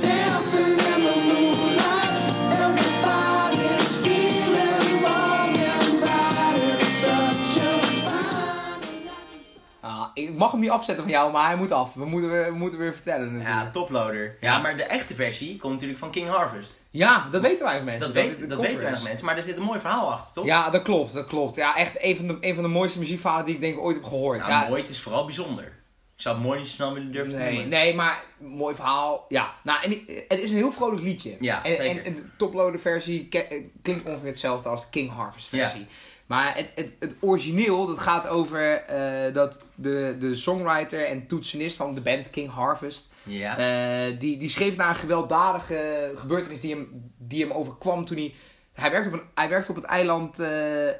Dancing in the moonlight. Everybody's feeling warm and bright. It's such a fine Ah, ik mag hem niet afzetten van jou, maar hij moet af. We moeten, we, moeten weer vertellen natuurlijk. Ja, Ja, toploader. Ja, maar de echte versie komt natuurlijk van King Harvest. dat weten weinig mensen. Dat, dit weet, een dat cover weten is. weinig mensen, maar er zit een mooi verhaal achter, toch? Ja, dat klopt, dat klopt. Ja, echt een van de, een van de mooiste muziekverhalen die ik denk ooit heb gehoord. Nou, ja, mooi, het is vooral bijzonder. Ik zou het mooi niet snel willen durven te Nee, noemen. nee, maar mooi verhaal. Ja, nou, en ik- het is een heel vrolijk liedje. Ja, en, zeker. En, en de toploader versie ke- eh, klinkt ongeveer hetzelfde als de King Harvest versie. Maar het, het, het origineel, dat gaat over eh, dat de, de songwriter en toetsenist van de band King Harvest... Ja. Eh, die, die schreef naar een gewelddadige gebeurtenis die hem, die hem overkwam toen hij... Hij werkte op, een, hij werkte op het eiland... eh, eh,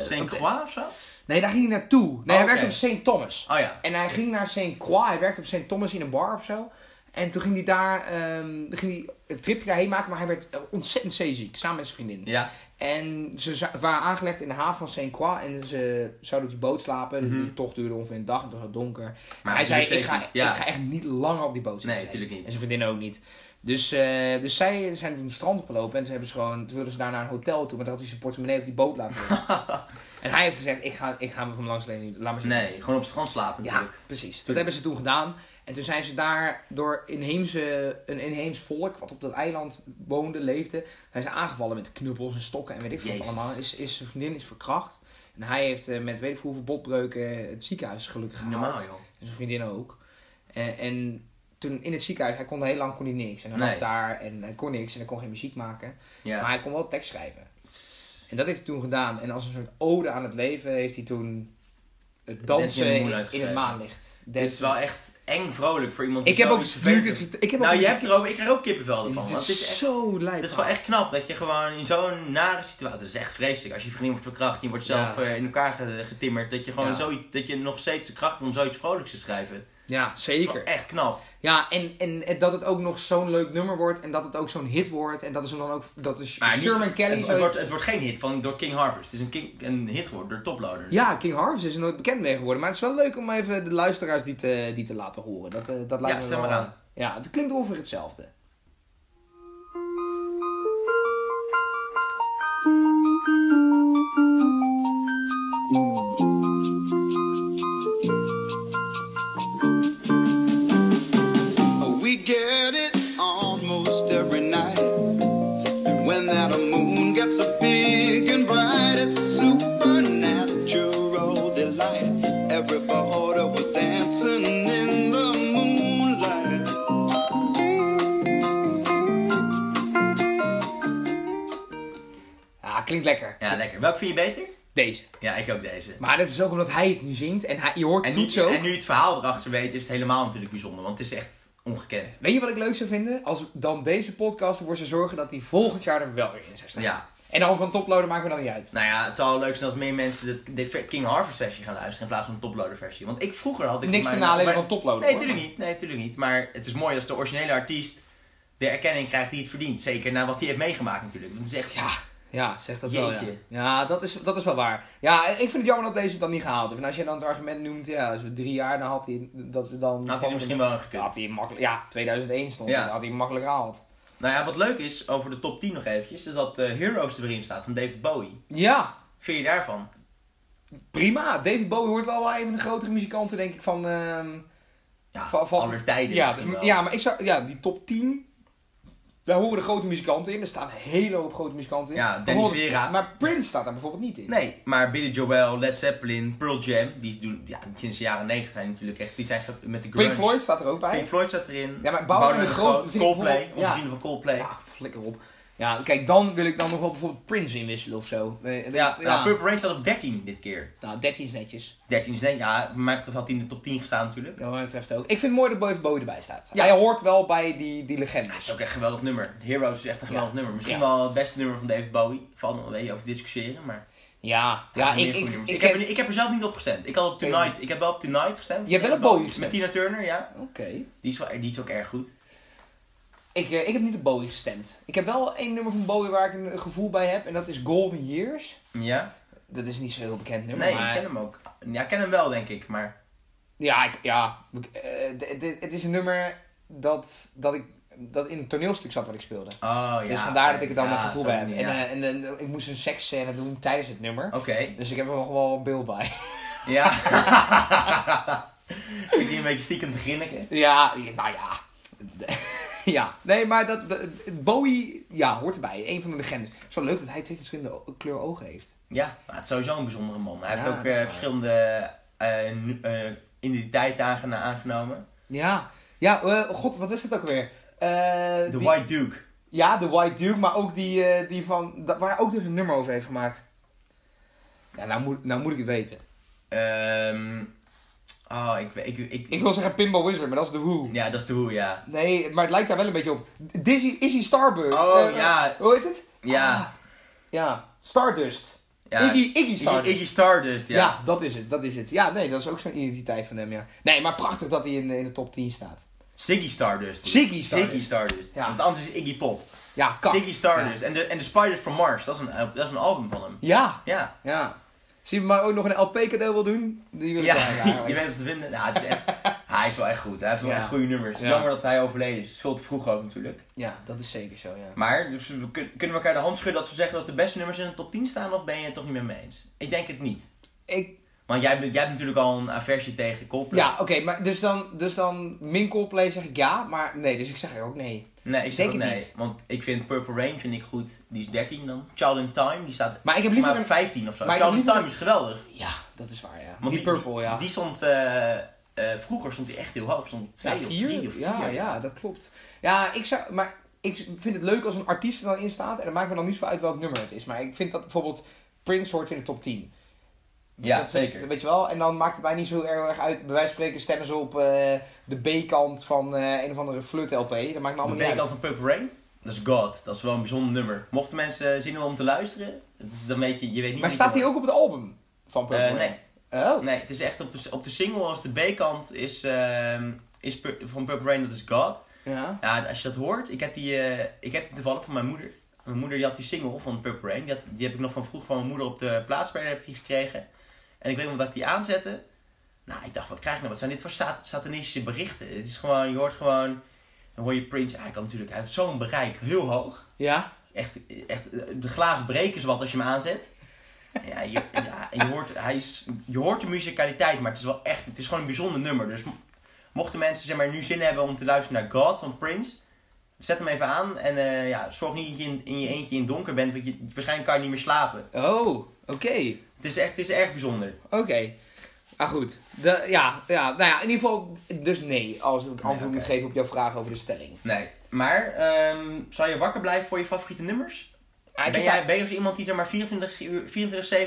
Saint op de- Croix of zo? Nee, daar ging hij naartoe. Nee, hij oké. werkte op St. Thomas. Oh ja. En hij ging naar St. Croix. Hij werkte op St. Thomas in een bar of zo. En toen ging hij daar ehm, ging hij een tripje daarheen maken, maar hij werd eh, ontzettend zeeziek, samen met zijn vriendin. Ja. En ze za- waren aangelegd in de haven van St. Croix en ze zouden op die boot slapen. Mhm. Die tocht duurde ongeveer een dag, het was al donker. Maar hij zei, natuurlijk ik ga, e-, zeeziek, ja. ik ga echt niet langer op die boot zitten. Nee, zei hij. tuurlijk niet. En zijn vriendin ook niet. Dus, eh, dus zij zijn toen het strand opgelopen en ze hebben ze gewoon, toen wilden ze daar naar een hotel toe, maar dat had hij zijn portemonnee op die boot laten liggen. en hij heeft gezegd, ik ga, ik ga me van langs niet, laat maar zitten. Nee, gewoon op het strand slapen Ja, natuurlijk. precies. Dat Tuurlijk. hebben ze toen gedaan. En toen zijn ze daar door inheemse, een inheems volk, wat op dat eiland woonde, leefde, zijn ze aangevallen met knuppels en stokken en weet ik veel wat Jezus. allemaal. Is, is zijn vriendin is verkracht. En hij heeft eh, met weet ik veel hoeveel botbreuken het ziekenhuis gelukkig gehaald. Normaal, Oh, joh. En zijn vriendin ook. En, en toen in het ziekenhuis, hij kon heel lang kon hij niks. En hij Nee. lag daar en hij kon niks en hij kon geen muziek maken. Maar Ja. hij kon wel tekst schrijven. En dat heeft hij toen gedaan. En als een soort ode aan het leven heeft hij toen het Dancing in the dansen Moonlight in het geschreven. maanlicht. Het is wel echt eng vrolijk voor iemand die Ik heb zo ook extravert dit is. vert- ik heb ook Nou, je dit- hebt erover, ik krijg ook kippenvel ervan. Dit want het is is echt- zo lijp. Het is wel echt knap dat je gewoon in zo'n nare situatie. Het is echt vreselijk als je vriendin wordt verkracht en je wordt zelf Ja. eh, in elkaar ge- getimmerd. Dat je gewoon Ja. zo, dat je nog steeds de kracht hebt om zoiets vrolijks te schrijven. Dat Ja, is wel zeker. echt knap. Ja, en, en en dat het ook nog zo'n leuk nummer wordt. En dat het ook zo'n hit wordt. En dat is hem dan ook... Dat is Maar niet- Sherman Kelly. het, zo- het, wordt, het wordt geen hit van, door King Harvest. Het is een, king, een hit geworden door Toploader. Ja, King Harvest is er nooit bekend mee geworden. Maar het is wel leuk om even de luisteraars die te, die te laten horen. Dat, eh, dat lijkt Ja, me zet wel, maar eh, aan. Ja, het klinkt ongeveer hetzelfde. Oh, We get it almost every night. And when that moon gets so big and bright, it's supernatural delight. Everybody was dancing in the moonlight. Ja, klinkt lekker. Ja, lekker. Welk vind je beter? Deze. Ja, ik ook deze. Maar dat is ook omdat hij het nu zingt. En hij, je hoort En het nu, niet zo. en nu het verhaal erachter weet, is het helemaal natuurlijk bijzonder. Want het is echt ongekend. Weet je wat ik leuk zou vinden? Als we dan deze podcast ervoor zou zorgen dat die volgend jaar er wel weer in zou staan. Ja. En dan van toploader maken we dan niet uit. Nou ja, het zou leuk zijn als meer mensen de, de King Harvest versie gaan luisteren in plaats van de Toploader versie. Want ik vroeger had ik... Niks mijn- ten nadele mijn- van Toploader, Nee, hoor. natuurlijk niet. Nee, natuurlijk niet. Maar het is mooi als de originele artiest de erkenning krijgt die het verdient. Zeker na wat hij heeft meegemaakt natuurlijk. Want het is echt... Ja, ja zeg dat wel. Ja, Jeetje. ja dat, is, dat is wel waar. Ja, ik vind het jammer dat deze het dan niet gehaald heeft. En als je dan het argument noemt, ja, als we drie jaar, dan had hij dat we dan... Had hij er misschien wel aan gekund. Had hij makkelijk, ja, 2001 stond Ja. hij, had hij hem makkelijk gehaald. Nou ja, wat leuk is over de top 10 nog eventjes, is dat eh, Heroes er weer in staat van David Bowie. Ja, Vind je daarvan? prima. David Bowie hoort wel wel even de grotere muzikanten, denk ik, van... ehm, Ja, van, van aller tijden ja, misschien wel. ja, maar ik zou, ja, die top 10... Daar horen de grote muzikanten in. Er staan een hele hoop grote muzikanten in. Ja, Danny Bijvoorbeeld- Vera. Maar Prince staat daar bijvoorbeeld niet in. Nee, maar Billy Joel, Led Zeppelin, Pearl Jam, die doen, ja, die sinds de jaren 90 zijn natuurlijk echt, die zijn ge- met de grunge. Pink Floyd staat er ook bij. Pink Floyd zat erin. Ja, maar Bouwman Boudewijn en de Groot vind ik Coldplay, wel- onze ja. vrienden van Coldplay. Ja, Ja, flikker op. Ja, kijk, dan wil ik dan nog wel bijvoorbeeld Prince inwisselen of zo. Eh, weet- ja, nou, Purple Rain staat op 13 dit keer. Nou, 13 is netjes. 13 is net, ja, maar dat had hij in de top 10 gestaan natuurlijk. Ja, wat mij betreft ook. Ik vind het mooi dat Boy Bowie erbij staat. Hij hoort wel bij die, die Dat legendes. is ook echt een geweldig nummer. Heroes is echt een geweldig Ja. nummer. Misschien Ja. wel het beste nummer van David Bowie. Van, weet je, over discussiëren, maar... Ja, Ja, ja, meer ik, goede ik, nummers. ik heb, heb... er, Oké. ik heb er zelf niet op gestemd. Ik had op Tegen- Tonight, ik heb wel op Tonight gestemd. Je hebt wel op Met Bowie gestemd. Met Tina Turner, ja. Die is, wel, die is ook erg goed. Ik, eh, ik heb niet op Bowie gestemd. Ik heb wel één nummer van Bowie waar ik een gevoel bij heb. En dat is Golden Years. Ja. Dat is niet zo heel bekend nummer, Nee, ik maar... ken hem ook. Ja, ik ken hem wel, denk ik. Maar Ja, ik, ja. eh, d- d- het is een nummer dat, dat, ik, dat in een toneelstuk zat wat ik speelde. Oh ja. dus vandaar dat ik het dan Ja, een gevoel zo bij heb. manier, En, ja. eh, en, eh, ik moest een seksscène doen tijdens het nummer. Oké, Dus ik heb er nog wel een beeld bij. ja. Vind je een beetje stiekem te grinniken? ja, nou ja. ja. Nee, maar dat, dat- Bowie ja, hoort erbij. Een van de legendes. Zo leuk dat hij twee verschillende o- kleur ogen heeft. Ja, maar het is sowieso een bijzondere man. Hij Ja, heeft ook dat is eh, waar. verschillende eh, nu- eh, identiteiten aangena- aangenomen. Ja. Ja, eh, god, wat is dat ook weer? Eh, De die- White Duke. Ja, de White Duke, maar ook die, eh, die van... dat- waar hij ook dus een nummer over heeft gemaakt. Ja, nou moet, nou moet ik het weten. Ehm oh, ik, weet- ik, ik, Ik wil zeggen Pinball Wizard, maar dat is de Who. Ja, dat is de hoe, ja. Nee, maar het lijkt daar wel een beetje op. Dizzy, Izzy Starbird. Oh, Eh, ja. Hoe heet het? Ja. Ah, ja, Stardust. ja. dus Iggy, Iggy Stardust. Iggy Stardust, ja. ja. dat is het, dat is het. Ja, nee, dat is ook zo'n identiteit van hem, ja. Nee, maar prachtig dat hij in, de- in de top 10 staat. Ziggy Stardust. Ziggy Stardust. Ziggy Stardust. Ja. Want anders is Iggy Pop. Ja, kan. Ziggy Stardust. En, de, en de Spiders from Mars. Dat is, een, eh, dat is een album van hem. Ja, Ja. ja. Zie je maar ook nog een LP cadeau wil doen? Die wil ik Ja, wel hebben eigenlijk. je weet het te vinden. Nou, het is echt, hij is wel echt goed. Hij heeft wel Ja. echt goede nummers. Ja. Jammer dat hij overleden is. Veel te vroeg ook natuurlijk. Ja, dat is zeker zo, ja. Maar dus we kun- kunnen we elkaar de hand schudden dat we zeggen dat de beste nummers in de top 10 staan? Of ben je het toch niet met me eens? Ik denk het niet. Ik, Want jij, bent- jij hebt natuurlijk al een aversie tegen Coldplay. ja, oké, maar dus dan, dus dan min Coldplay zeg ik ja, maar nee, dus ik zeg er ook nee. Nee, ik zeg Denk ook het nee. niet. Want ik vind Purple Rain vind ik goed. Die is 13 dan. Child in Time, die staat Maar ik heb liever maar een- 15 of zo. maar ik Child heb in liever Time is geweldig. Ja, dat is waar, ja. Want die Purple, ja. Die stond, eh, eh, vroeger stond hij echt heel hoog. Stond op twee ja, of vier. drie of vier. Ja, ja, dat klopt. Ja, ik zou, maar ik vind het leuk als een artiest er dan in staat. En dan maakt me dan niet zo uit welk nummer het is. Maar ik vind dat bijvoorbeeld Prince hoort in de top 10. Ja, Dat- zeker. Weet je wel? En dan maakt het mij niet zo heel erg uit. Bij wijze van spreken stemmen ze op eh, de B-kant van eh, een of andere flut LP. Dat maakt me De allemaal niet B-kant uit. van Purple Rain, dat is God. Dat is wel een bijzonder nummer. Mochten mensen eh, zin hebben om te luisteren, het is dan weet je, je weet niet... Maar wie staat je hij ook op het album van hoort. Purple Eh, nee, Rain? Oh. nee, het is echt op, de- op de single als de B-kant is, ehm, is Pur- van Purple Rain, dat is God. Ja. Ja, als je dat hoort, ik heb die, eh, ik heb die toevallig van mijn moeder. Mijn moeder die had die single van Purple Rain. Die, had, die heb ik nog van vroeg van mijn moeder op de plaatsspeler heb ik die gekregen. En ik weet nog dat ik die aanzette. Nou, ik dacht, wat krijg ik nou? Wat zijn dit voor sat satanistische berichten? Het is gewoon, je hoort gewoon, dan hoor je Prince. Hij kan natuurlijk uit zo'n bereik heel hoog. Ja. Echt, echt eh, de glazen breken ze wat als je hem aanzet. Ja, je, ja, en je, hoort, hij is, je hoort de musicaliteit, maar het is wel echt, het is gewoon een bijzonder nummer. Dus mo- mochten mensen zeg maar, nu zin hebben om te luisteren naar God van Prince, zet hem even aan. En eh, ja, zorg niet dat je in, in je eentje in het donker bent, want je, waarschijnlijk kan je niet meer slapen. Oh, oké. Het is echt, het is erg bijzonder. Oké. Maar goed. De, ja, ja, nou ja, in ieder geval, dus nee. Als ik antwoord Nee, oké. moet geven op jouw vraag over de stelling. Nee, maar ehm zou je wakker blijven voor je favoriete nummers? Ah, ik ben heb jij ben je als iemand die zeg maar 24 uur-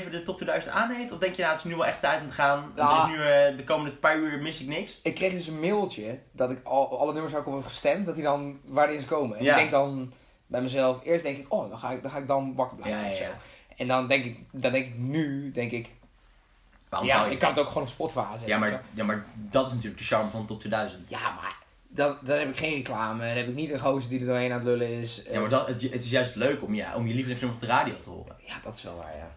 24-7 de top 2000 aan heeft? Of denk je, nou, het is nu wel echt tijd om te gaan? want Ja. er is nu, eh, de komende paar uur mis ik niks. Ik kreeg dus een mailtje dat ik al, alle nummers waar ik op heb gestemd, dat die dan waarin ze komen. En Ja. ik denk dan bij mezelf, eerst denk ik, oh, dan ga ik dan, ga ik dan wakker blijven Ja, ja, of zo. ja. En dan denk, ik, dan denk ik nu, denk ik, Waarom ja, zou je? ik kan het ook gewoon op Spotify aanzetten. ja, of maar, zo. ja, maar dat is natuurlijk de charme van top 2000. Ja, maar dan, dan heb ik geen reclame, dan heb ik niet een gozer die er doorheen aan het lullen is. Ja, maar dat, het, het is juist leuk om, ja, om je lievelingsnummer op de radio te horen. Ja, dat is wel waar, ja.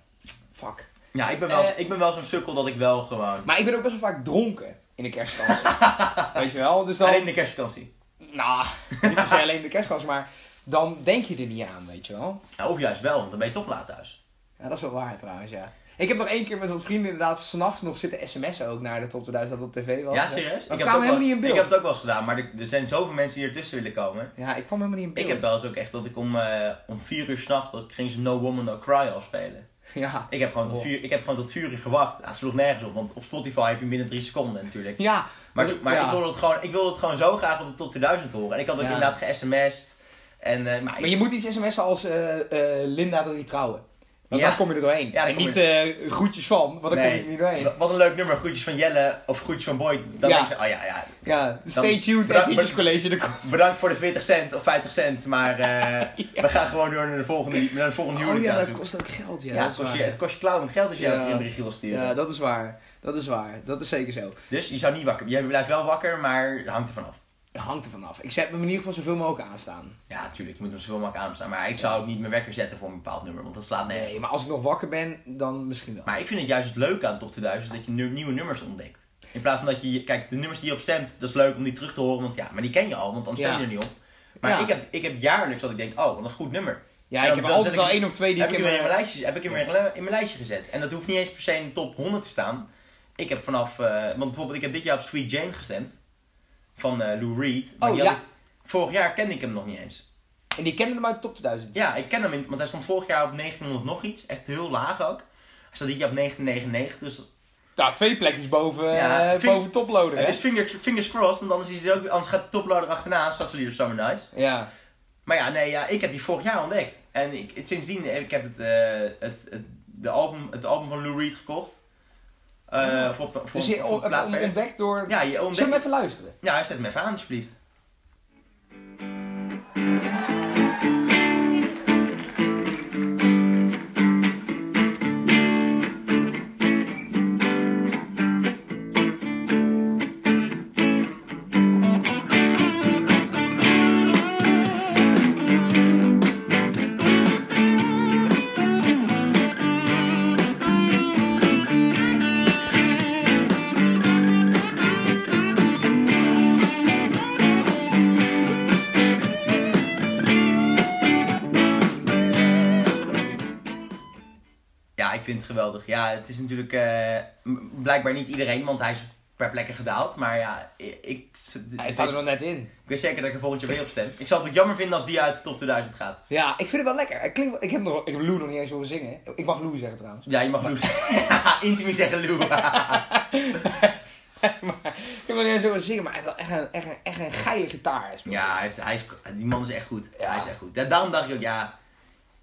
Fuck. Ja, ik ben wel, Eh. ik ben wel zo'n sukkel dat ik wel gewoon... Maar ik ben ook best wel vaak dronken in de kerstvakantie. Weet je wel? Dus dan... Alleen in de kerstvakantie. Nou, niet per se alleen in de kerstvakantie, maar dan denk je er niet aan, weet je wel? Ja, of juist wel, want dan ben je toch laat thuis. Ja, dat is wel waar trouwens, ja. Ik heb nog één keer met wat vrienden inderdaad s'nachts nog zitten sms'en ook naar de top 2000 dat op tv was. ja, serieus? Ik kwam heb het ook helemaal wel- niet in beeld. Ik heb het ook wel eens gedaan, maar er, er zijn zoveel mensen die ertussen willen komen. Ja, ik kwam helemaal niet in beeld. Ik heb wel eens ook echt dat ik om, eh, om vier uur s'nachts, dat ging ze No Woman No Cry afspelen. Ja. Ik heb gewoon tot Wow. vier, ik heb gewoon tot vier uur gewacht. Ja, het sloeg nergens op, want op Spotify heb je binnen drie seconden natuurlijk. Ja. Maar, toen- maar ja. ik, wilde het gewoon, ik wilde het gewoon zo graag op de top 2000 horen. En ik had ook Ja. inderdaad ge-sms'd. En, eh, maar Maar je moet iets sms'en als eh, eh, Linda wil niet trouwen. Want Ja. dan kom je er doorheen. Ja, dan en kom je- niet eh, groetjes van, want dan kom je nee, er niet doorheen. wa- wat een leuk nummer. Groetjes van Jelle of groetjes van Boy. Dan Ja. denk je, oh ja, ja. Ja, stay Dan- tuned bedankt- at Hitjes College. dan kom- Bedankt voor de 40 cent of 50 cent. Maar eh, Ja. we gaan gewoon door naar de volgende, naar de volgende Oh huwelijk ja, aan dat toe. kost ook geld, ja. Ja, dat het is kost, waar. je, het kost je klauwend geld als je Ja. elke keer een berichtje wil sturen. Ja, dat is waar. Dat is waar. Dat is zeker zo. Dus je zou niet wakker. Je blijft wel wakker, maar hangt er vanaf. Het hangt er vanaf. Ik zet me in ieder geval zoveel mogelijk aanstaan. Ja, tuurlijk, je moet hem zoveel mogelijk aanstaan. Maar ik zou ook niet mijn wekker zetten voor een bepaald nummer, want dat slaat nergens. Nee, op. maar als ik nog wakker ben, dan misschien wel. Maar ik vind het juist het leuke aan Top 2000 dat je nu- nieuwe nummers ontdekt. In plaats van dat je, kijk, de nummers die je op stemt, dat is leuk om die terug te horen, want ja, maar die ken je al, want anders stem je Ja. er niet op. Maar Ja. ik, heb, ik heb jaarlijks dat ik denk, oh, wat een goed nummer. Ja, En ik dan- heb dan zet altijd ik wel hem- één of twee die heb ik ik in hem weer in mijn mijn... lijstje, heb ik hem weer in mijn lijstje gezet. En dat hoeft niet eens per se in de top 100 te staan. Ik heb vanaf, eh, want bijvoorbeeld ik heb dit jaar op Sweet Jane gestemd. Van eh, Lou Reed. Maar Oh, die had ja. ik- vorig jaar kende ik hem nog niet eens. En die kende hem uit de top 2000. Ja, ik ken hem, in, want hij stond vorig jaar op 1900 nog iets. Echt heel laag ook. Hij staat dit jaar op 1999, dus Nou, twee plekjes boven, Ja, eh, vind- boven toploader, hè? het is finger, fingers crossed, want anders, is hij ook, anders gaat de toploader achterna, staat ze hier Summer Nights. Ja. Dus Maar ja, nee, ja, ik heb die vorig jaar ontdekt. En ik, het- sindsdien heb ik heb het, eh, het, het, de album, het album van Lou Reed gekocht. Eh, voor, voor, Dus voor- je voor on- plaats- on- ontdekt door... Ja, je Zullen we hem ontdekt. even luisteren? Ja, zet hem even aan, alsjeblieft. Ja, ik vind het geweldig. Ja, het is natuurlijk eh, m- blijkbaar niet iedereen, want hij is per plekke gedaald. Maar ja, ik, ik, Hij staat er nog net in. ik weet zeker dat ik er volgend jaar weer op stem. Ik zou het ook jammer vinden als die uit de top 2000 gaat. Ja, ik vind het wel lekker. Het klinkt wel- Ik heb, nog, ik heb Lou nog niet eens horen zingen. Ik mag Lou zeggen trouwens. Ja, je mag Lou zeggen. Intimi zeggen Lou. maar, ik heb nog niet eens horen zingen, maar hij heeft wel echt een, echt een, echt een geile gitaar. Ja, hij heeft, hij is, die man is echt goed. Ja. Hij is echt goed. Da- daarom dacht ik ook, ja.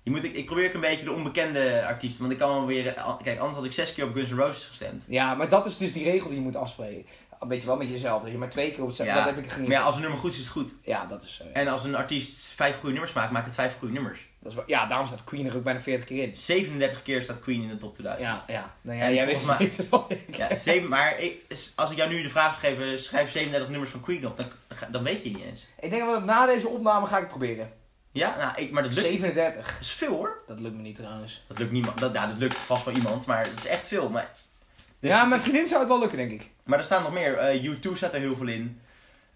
Je moet, ik, ik probeer ook een beetje de onbekende artiesten. Want ik kan wel weer. al- Kijk, anders had ik zes keer op Guns N' Roses gestemd. Ja, maar dat is dus die regel die je moet afspreken. Weet je wel, met jezelf. Dat je maar twee keer op hetzelfde... Dat heb ik maar geniet. ja, als een nummer goed is, is het goed. Ja, dat is zo. ja. En als een artiest vijf goede nummers maakt, maakt het vijf goede nummers. Dat is wel- ja, daarom staat Queen er ook bijna 40 keer in. Dus, 37 keer staat Queen in de top 2000. Ja, ja. Nou ja, En jij weet volgens het mij- beter dan ik. Ja, zeven, maar ik, als ik jou nu de vraag zou geven, schrijf 37 nummers van Queen op, dan, dan weet je het niet eens. Ik denk dat na deze opname ga ik het proberen. Ja, nou, ik, maar dat lukt. 37. Dat is veel hoor. Dat lukt me niet trouwens. Dat lukt niemand. Dat, ja, dat lukt vast wel iemand, maar het is echt veel. Maar, Dus- ja, mijn vriendin zou het wel lukken, denk ik. maar er staan nog meer. Eh, U2 staat er heel veel in.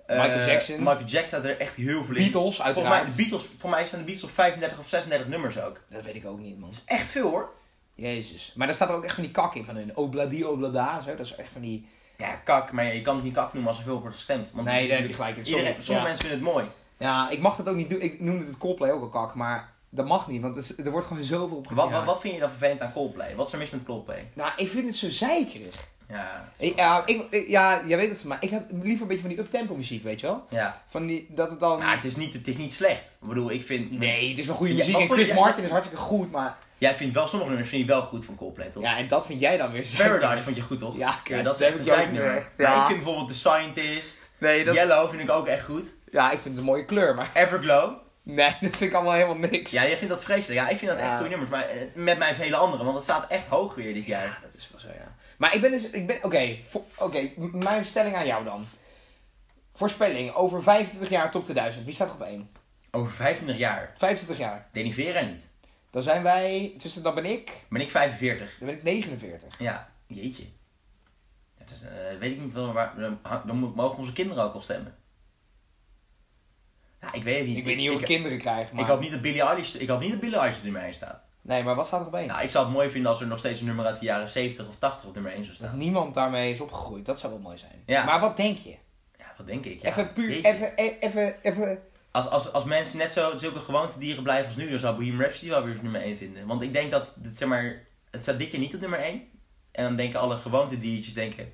Eh, Michael Jackson. Michael Jackson staat er echt heel veel in. Beatles, Volgens mij, uiteraard. de Beatles, voor mij staan de Beatles op 35 of 36 nummers ook. Dat Dat weet ik ook niet, man. is echt veel hoor. Jezus. Maar daar staat er ook echt van die kak in, van hun obladi oblada. Zo. Dat is echt van die... Ja, kak, maar je kan het niet kak noemen als er veel op wordt gestemd. Want Nee, daar heb je gelijk in. Sorry. Iedereen, sommige Ja. mensen vinden het mooi. Ja, ik mag dat ook niet doen. Ik noemde het Coldplay ook al kak, maar dat mag niet. Want het is- er wordt gewoon zoveel op Wat, wat, gejaagd. wat vind je dan vervelend aan Coldplay? Wat is er mis met Coldplay? Nou, ik vind het zo zeikerig. Ja, het is wel- Ja, ik, ik- ja, jij weet het van mij. Ik heb liever een beetje van die uptempo muziek, weet je wel? ja. Van die, dat het dan... Nou, het is, niet, het is niet slecht. Ik bedoel, ik vind... Nee, het is wel goede Ja, muziek. wat en voor- Chris ja, Martin is hartstikke goed, maar... Jij vindt wel sommige nummers vind je wel goed van Coldplay, toch? Ja, en dat vind jij dan weer zo. Paradise vond je goed, toch? Ja, kut, dat is dat echt een heb ik ook zeiknummer. gezegd, Maar ja. ik vind bijvoorbeeld The Scientist, Nee, dat... Yellow vind ik ook echt goed. Ja, ik vind het een mooie kleur, maar... Everglow. Nee, dat vind ik allemaal helemaal niks. Ja, jij vindt dat vreselijk. Ja, ik vind dat Ja. echt goede nummers. Maar eh, met mij vele anderen, want het staat echt hoog weer dit Ja, jaar. dat is wel zo, ja. Maar ik ben dus... Ik ben, Oké, voor- oké, m- mijn stelling aan jou dan. Voorspelling, over 25 jaar top 2000. Wie staat er op 1? Over 25 jaar. 25 jaar. Denny Vera niet. Dan zijn wij... Tussen dan ben ik... Ben ik 45. Dan ben ik 49. Ja, jeetje. Ja, dat is, eh, weet ik niet wel waar. Dan, dan mo- mogen onze kinderen ook al stemmen. Ja, ik weet het niet. Ik weet niet of ik ik, kinderen krijg, maar... ik hoop niet dat Billie Eilish, ik hoop niet dat Billie Eilish er mij in staat. Nee, maar wat staat er op 1? Nou, ik zou het mooi vinden als er nog steeds een nummer uit de jaren 70 of 80 op nummer 1 zou Dat staan. niemand daarmee is opgegroeid. Dat zou wel mooi zijn. Ja. Maar wat denk je? Ja, wat denk ik. Ja, Even puur... jeetje. Even... e- Even... Even... Als, als, als mensen net zo zulke gewoontedieren blijven als nu, dan zou Bohemian Rhapsody wel weer op nummer 1 vinden. Want ik denk dat, dat, zeg maar, het staat dit jaar niet op nummer 1. En dan denken alle gewoontediertjes, denken,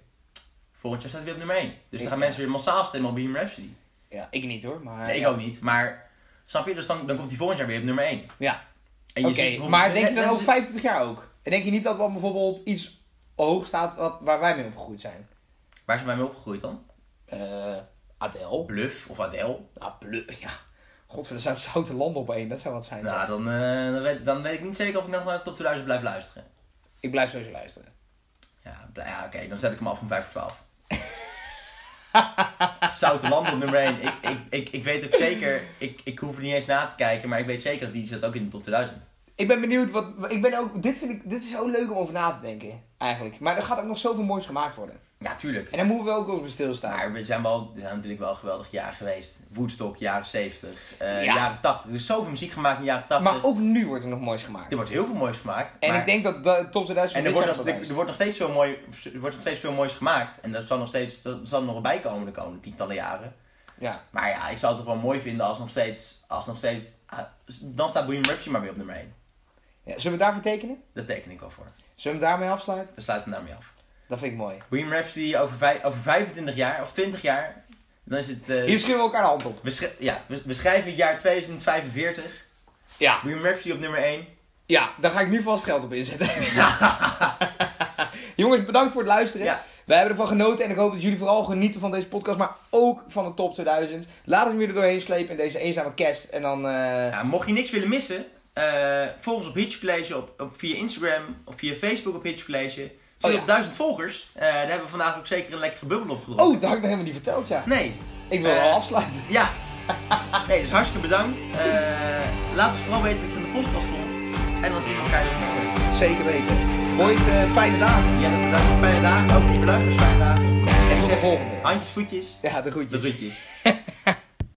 volgend jaar staat het weer op nummer 1. Dus Ik- dan gaan mensen weer massaal stemmen op Bohemian Rhapsody. Ja, ik niet hoor, maar... Nee, ik ook niet. Maar, snap je? Dus dan, dan komt hij volgend jaar weer op nummer 1. Ja, En Oké, ziet bijvoorbeeld- Eh, maar denk je dan mensen- over 25 jaar ook? En denk je niet dat dan bijvoorbeeld iets hoog staat wat, waar wij mee opgegroeid zijn? Waar zijn wij mee opgegroeid dan? Eh Adele? Bluff of Adele? Ah, blu- ja. Godver, er staan zoute landen op één. Dat zou wat zijn. Nou, dan, eh, dan, weet, dan weet ik niet zeker of ik nog naar de top 2000 blijf luisteren. Ik blijf sowieso luisteren. Ja, bl- ja oké, dan zet ik hem af om 5 voor 12. Zoutenland op nummer 1. Ik, ik, ik, ik weet ook zeker, ik, ik hoef er niet eens na te kijken, maar ik weet zeker dat die zit ook in de top 2000. Ik ben benieuwd wat. Ik ben ook. Dit, vind ik, dit is zo leuk om over na te denken. Eigenlijk. Maar er gaat ook nog zoveel moois gemaakt worden. Ja, tuurlijk. En daar moeten we ook over stilstaan. Maar we zijn, wel, er zijn natuurlijk wel geweldig jaren geweest. Woodstock, jaren 70, eh, Ja. jaren 80. Er is zoveel muziek gemaakt in de jaren 80. Maar ook nu wordt er nog moois gemaakt. Er wordt heel veel moois gemaakt. En maar- ik denk dat de top 2000 En er dit wordt, jaar nog, wel er, is. er wordt nog steeds veel mooi, er wordt nog steeds veel moois gemaakt. En er zal nog steeds er zal nog bij komen de komende tientallen jaren. Ja. Maar ja, ik zou het toch wel mooi vinden als nog steeds. Als nog steeds ah, dan staat Bohemian Rhapsody maar weer op nummer 1. ja. Zullen we daarvoor tekenen? Dat teken ik wel voor. Zullen we hem daarmee afsluiten? Dan sluit het daarmee af. Dat vind ik mooi. Bohemian Rhapsody over, vij- over 25 jaar of 20 jaar. Dan is het. eh, Hier schudden we elkaar de hand op. we, sch- ja, we, we schrijven het jaar 2045. Ja. Bohemian Rhapsody op nummer 1. Ja, daar ga ik nu vast geld op inzetten. Jongens, bedankt voor het luisteren. Ja. Wij hebben ervan genoten en ik hoop dat jullie vooral genieten van deze podcast, maar ook van de top 2000. Laat ons weer er doorheen slepen in deze eenzame cast. En dan, eh, Ja, mocht je niks willen missen, eh, volg ons op Hitch College op, op, via Instagram of via Facebook op Hitch College. We zitten Oh ja. op duizend volgers. Eh, daar hebben we vandaag ook zeker een lekkere bubbel op gedronken. Oh, dat had ik nog helemaal niet verteld, ja. Nee, Ik wil Eh. wel afsluiten. ja. Nee, dus hartstikke bedankt. Eh, laat ons vooral weten wat je van de podcast vond. En dan zien we elkaar weer volgende week. Zeker weten. Mooi, eh, fijne dagen. Ja, bedankt voor Dus fijne dagen. Ook voor de luisteraars fijne dagen. En tot de volgende. Handjes, voetjes. Ja, de groetjes. De groetjes.